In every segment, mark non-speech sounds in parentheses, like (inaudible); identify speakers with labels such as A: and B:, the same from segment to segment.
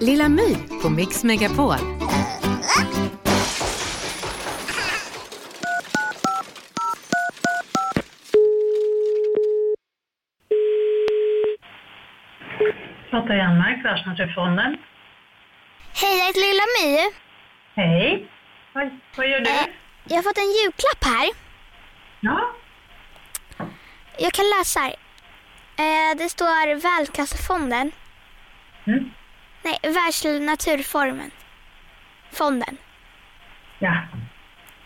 A: Lilla My på Mix Megapol.
B: Lotta Janmark, Världsnaturfonden.
C: Hej, jag heter Lilla My.
B: Hej. Oj, vad gör du?
C: Eh, Jag har fått en julklapp här.
B: Ja.
C: Jag kan läsa här. Eh, Det står Världskassafonden.
B: Mm.
C: Nej, Världsnaturformen. Fonden.
B: Ja.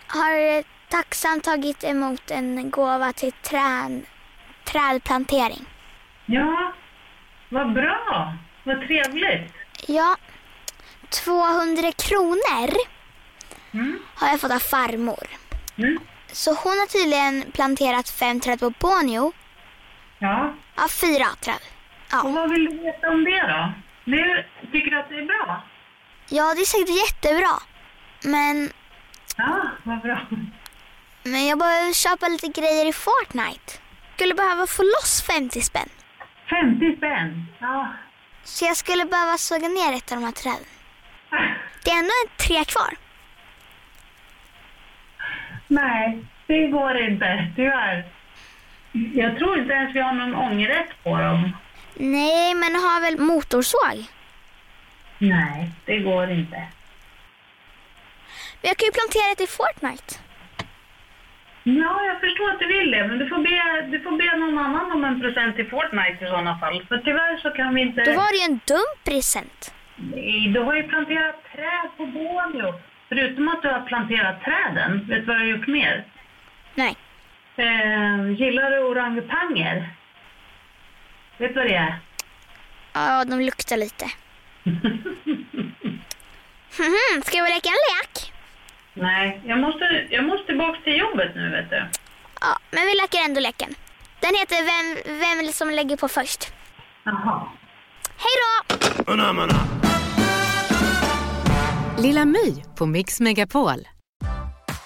C: Har eh, tacksamt tagit emot en gåva till trän, trädplantering.
B: Ja. Vad bra. Vad trevligt.
C: Ja, 200 kronor
B: Mm.
C: har jag fått av farmor.
B: Mm.
C: Så hon har tydligen planterat fem träd på Borneo.
B: Ja.
C: Ja, fyra träd.
B: Och
C: Ja.
B: vad vill du veta om det då? Nu, tycker du att det är bra?
C: ja, det är säkert jättebra. Men,
B: Ja, vad bra.
C: men jag behöver köpa lite grejer i Fortnite. Skulle behöva få loss 50 spänn.
B: 50 spänn. Ja. (laughs)
C: Så jag skulle behöva såga ner ett av de här träden. Det är ändå en tre kvar.
B: Nej, det går inte. Tyvärr. Jag tror inte ens vi har någon ångerrätt på dem.
C: Nej, men har väl motorsåg.
B: Nej, det går inte.
C: Men jag kan ju plantera ett i Fortnite.
B: Ja, jag förstår att du vill det, men du får be, du får be någon annan om en present i Fortnite i sådana fall. För tyvärr så kan vi inte...
C: Då var det ju en dum present.
B: Nej, du har ju planterat träd på Borneo. Förutom att du har planterat träden, vet du vad du har gjort mer?
C: Nej.
B: Eh, gillar du orangutanger? Vet du vad det är?
C: Ja, de luktar lite. Mhm, Ska vi leka en lek?
B: Nej, jag måste, jag måste tillbaka till jobbet nu, vet du.
C: Ja, men vi leker ändå leken. Den heter Vem, vem som lägger på först.
B: Jaha.
C: Hej då!
A: Lilla My på Mix Megapol.